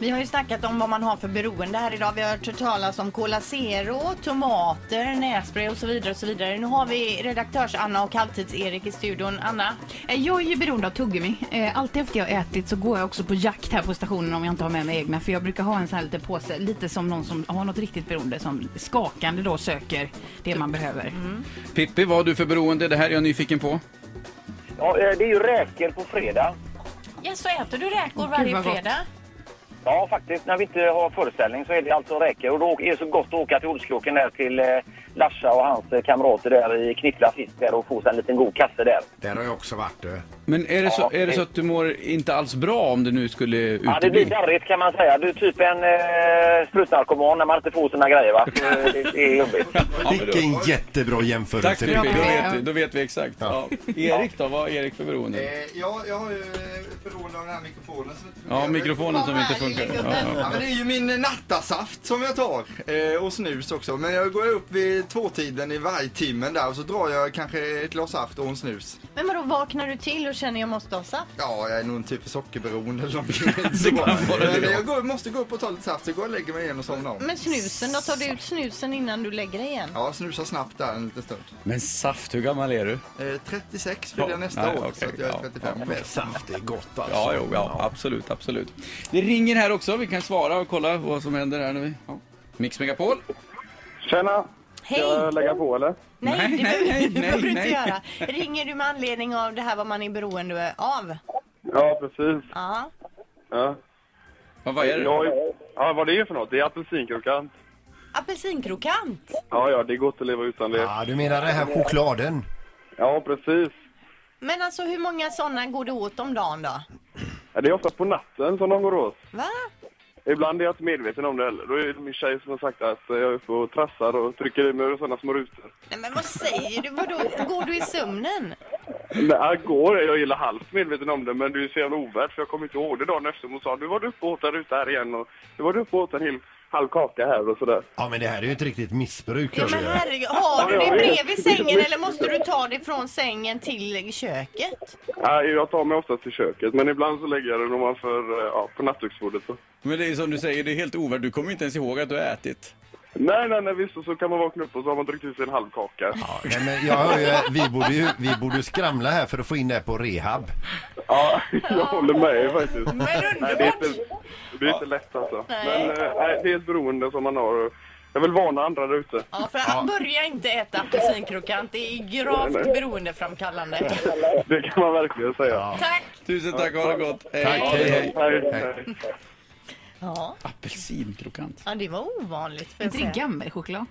Vi har ju snackat om vad man har för beroende här idag. Vi har hört talas om Cola Zero, tomater, nässpray och så vidare. och så vidare. Nu har vi redaktörs-Anna och halvtids-Erik i studion. Anna, Eh, Jag är ju beroende av tuggummi. Eh, Alltid efter jag har ätit så går jag också på jakt här på stationen om jag inte har med mig egna. För jag brukar ha en sån här liten påse, lite som någon som har något riktigt beroende som skakande då söker det man behöver. Pippi, vad har du för beroende? Det här är jag nyfiken på. Ja, eh, det är ju räkor på fredag. ja, så äter du räkor varje varje fredag? fredag? Ja, faktiskt. När vi inte har föreställning så är det alltså räkor. Och då är det så gott att åka till Olskroken där till eh, Larsa och hans eh, kamrater där i Knippla fisk där och få sig en liten god kasse där. Där har jag också varit du. Men är det, så, Ja, är det så att du mår inte alls bra om du nu skulle Ja, det blir utebli? darrigt kan man säga. Du är typ en eh, sprutnarkoman när man inte får sina grejer va. Så, eh, det, det är jobbigt. Ja, men då- Vilken jättebra jämförelse. Tack Pippi, Pippi. då vet, vi- då vet vi exakt. Ja. Erik då, vad är Erik för beroende? Eh, ja, jag har ju eh, ett beroende av den här mikrofonen som inte Ja, fungerar. mikrofonen som inte funkar. Ja, Ja, ja. men det är ju min eh, nattasaft som jag tar eh, och snus också. Men jag går upp vid tvåtiden i vargtimmen där och så drar jag kanske ett glas saft och en snus. Men vadå, vaknar du till och känner jag måste ha saft? Ja, jag är nog en typ av sockerberoende eller någonting. Det kan vara det, Men ja. jag går, måste gå upp och ta lite saft så går jag och lägger mig igen och somnar om. Men snusen då? Tar du ut snusen innan du lägger dig igen? Ja, snusa snabbt där en liten stund. Men saft, hur gammal är du? Eh, 36 fyller Ja, jag nästa nej, år, okej, så att jag ja, är 35. ja. Men saft är gott alltså. Ja, jo, ja, absolut, absolut. Det ringer här också, vi kan svara och kolla vad som händer här nu. Ja. Mix Megapol. Tjena! Hej! lägga på eller? Nej, Nej, det nej, behöver- nej, det behöver du nej, inte nej. göra. Ringer du med anledning av det här vad man är beroende av? Ja, precis. Ja. Ja. Vad, vad är det? Jag, ja, vad det är för något? Det är apelsinkrokant. Apelsinkrokant. Ja, ja, det är gott att leva utan det. Ja, du menar den här chokladen? Ja, precis. Men alltså hur många sådana går det åt om dagen då? Ja, det är ofta på natten som de går åt. Va? Ibland är jag inte medveten om det heller. Då är det min tjej som har sagt att jag är uppe och trassar och trycker i mig sådana små rutor. Nej men vad säger du? Vadå? Går du i sömnen? Men jag går, jag gillar halvt medveten om det, men det är så jävla ovärt för jag kommer inte ihåg det dagen efter. Hon sa nu var du uppe och åt en ruta här igen och nu var du uppe och åt en hel halv kaka här och sådär. Ja, men det här är ju ett riktigt missbruk. alltså. Ja hörru. men herregud, har du det bredvid sängen eller måste du ta det från sängen till köket? Ja, jag tar mig oftast till köket, men ibland så lägger jag den ovanför, eh, ja, på nattduksbordet. så. Men det är som du säger, det är helt ovärd. Du kommer inte ens ihåg att du har ätit. Nej, nej, nej, visst. Och så kan man vakna upp och så har man druckit i sig en halv kaka. Ja, nej, men jag hör ju, vi borde ju vi borde skramla här för att få in det här på rehab. Ja, jag håller med er faktiskt. Men Nej, det är underbart! inte, det är inte lätt alltså. Nej. Men eh, nej, det är ett beroende som man har. Jag vill varna andra där ute. Ja, för att börja inte äta apelsinkrokant, det är gravt beroendeframkallande. Det kan man verkligen säga. Tack! Tusen tack, ha det gott. Hej, Tack, hej, hej. Nej, nej. Ja, Apelsinkrokant. ja det var ovanligt. För Inte det gammelchoklad?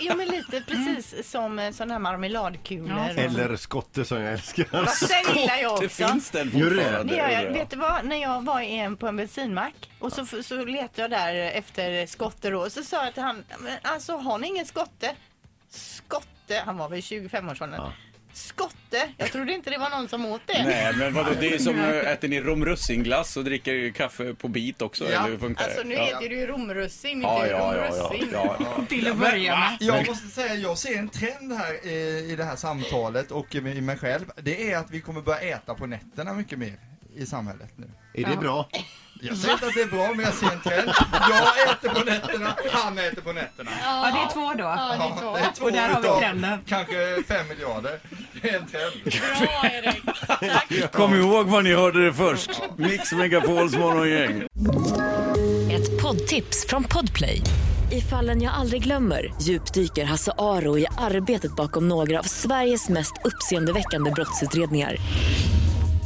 Jo men lite precis som eh, sådana här marmeladkulor. Ja. Eller skotte som jag älskar. Sen gillar jag också. Det finns den Gör det? fortfarande. Det gör jag. undrar Vet du vad? När jag var i en, på en bensinmack och så, f- så letade jag där efter skotte då. Så sa jag till han, "Men alltså har ni ingen skotte? Skotte, han var väl 25-årsåldern. Skotte, jag trodde inte det var någon som åt det. Nej, men vadå, det är som eh, äter ni romrussinglass och dricker ju kaffe på bit också, Ja. eller hur funkar det? Alltså nu ja. heter det ju romrussin, inte Ja, ja, ja, ja, romrussin. ja, ja. Till att börja med. Jag måste säga, jag ser en trend här eh, i det här samtalet och i i mig själv. Det är att vi kommer börja äta på nätterna mycket mer i samhället nu. Är det bra? Jag säger inte att det är bra, men jag ser en trend. Jag äter på nätterna, han äter på nätterna. Ja, det är två då. Ja, det är det är två Och där har vi utav trenden. Kanske fem miljarder. Det är en trend. Bra Erik! Kom ihåg var ni hörde det först. Mix Megapols morgongäng. Ett poddtips från Podplay. I fallen jag aldrig glömmer djupdyker Hasse Aro i arbetet bakom några av Sveriges mest uppseendeväckande brottsutredningar.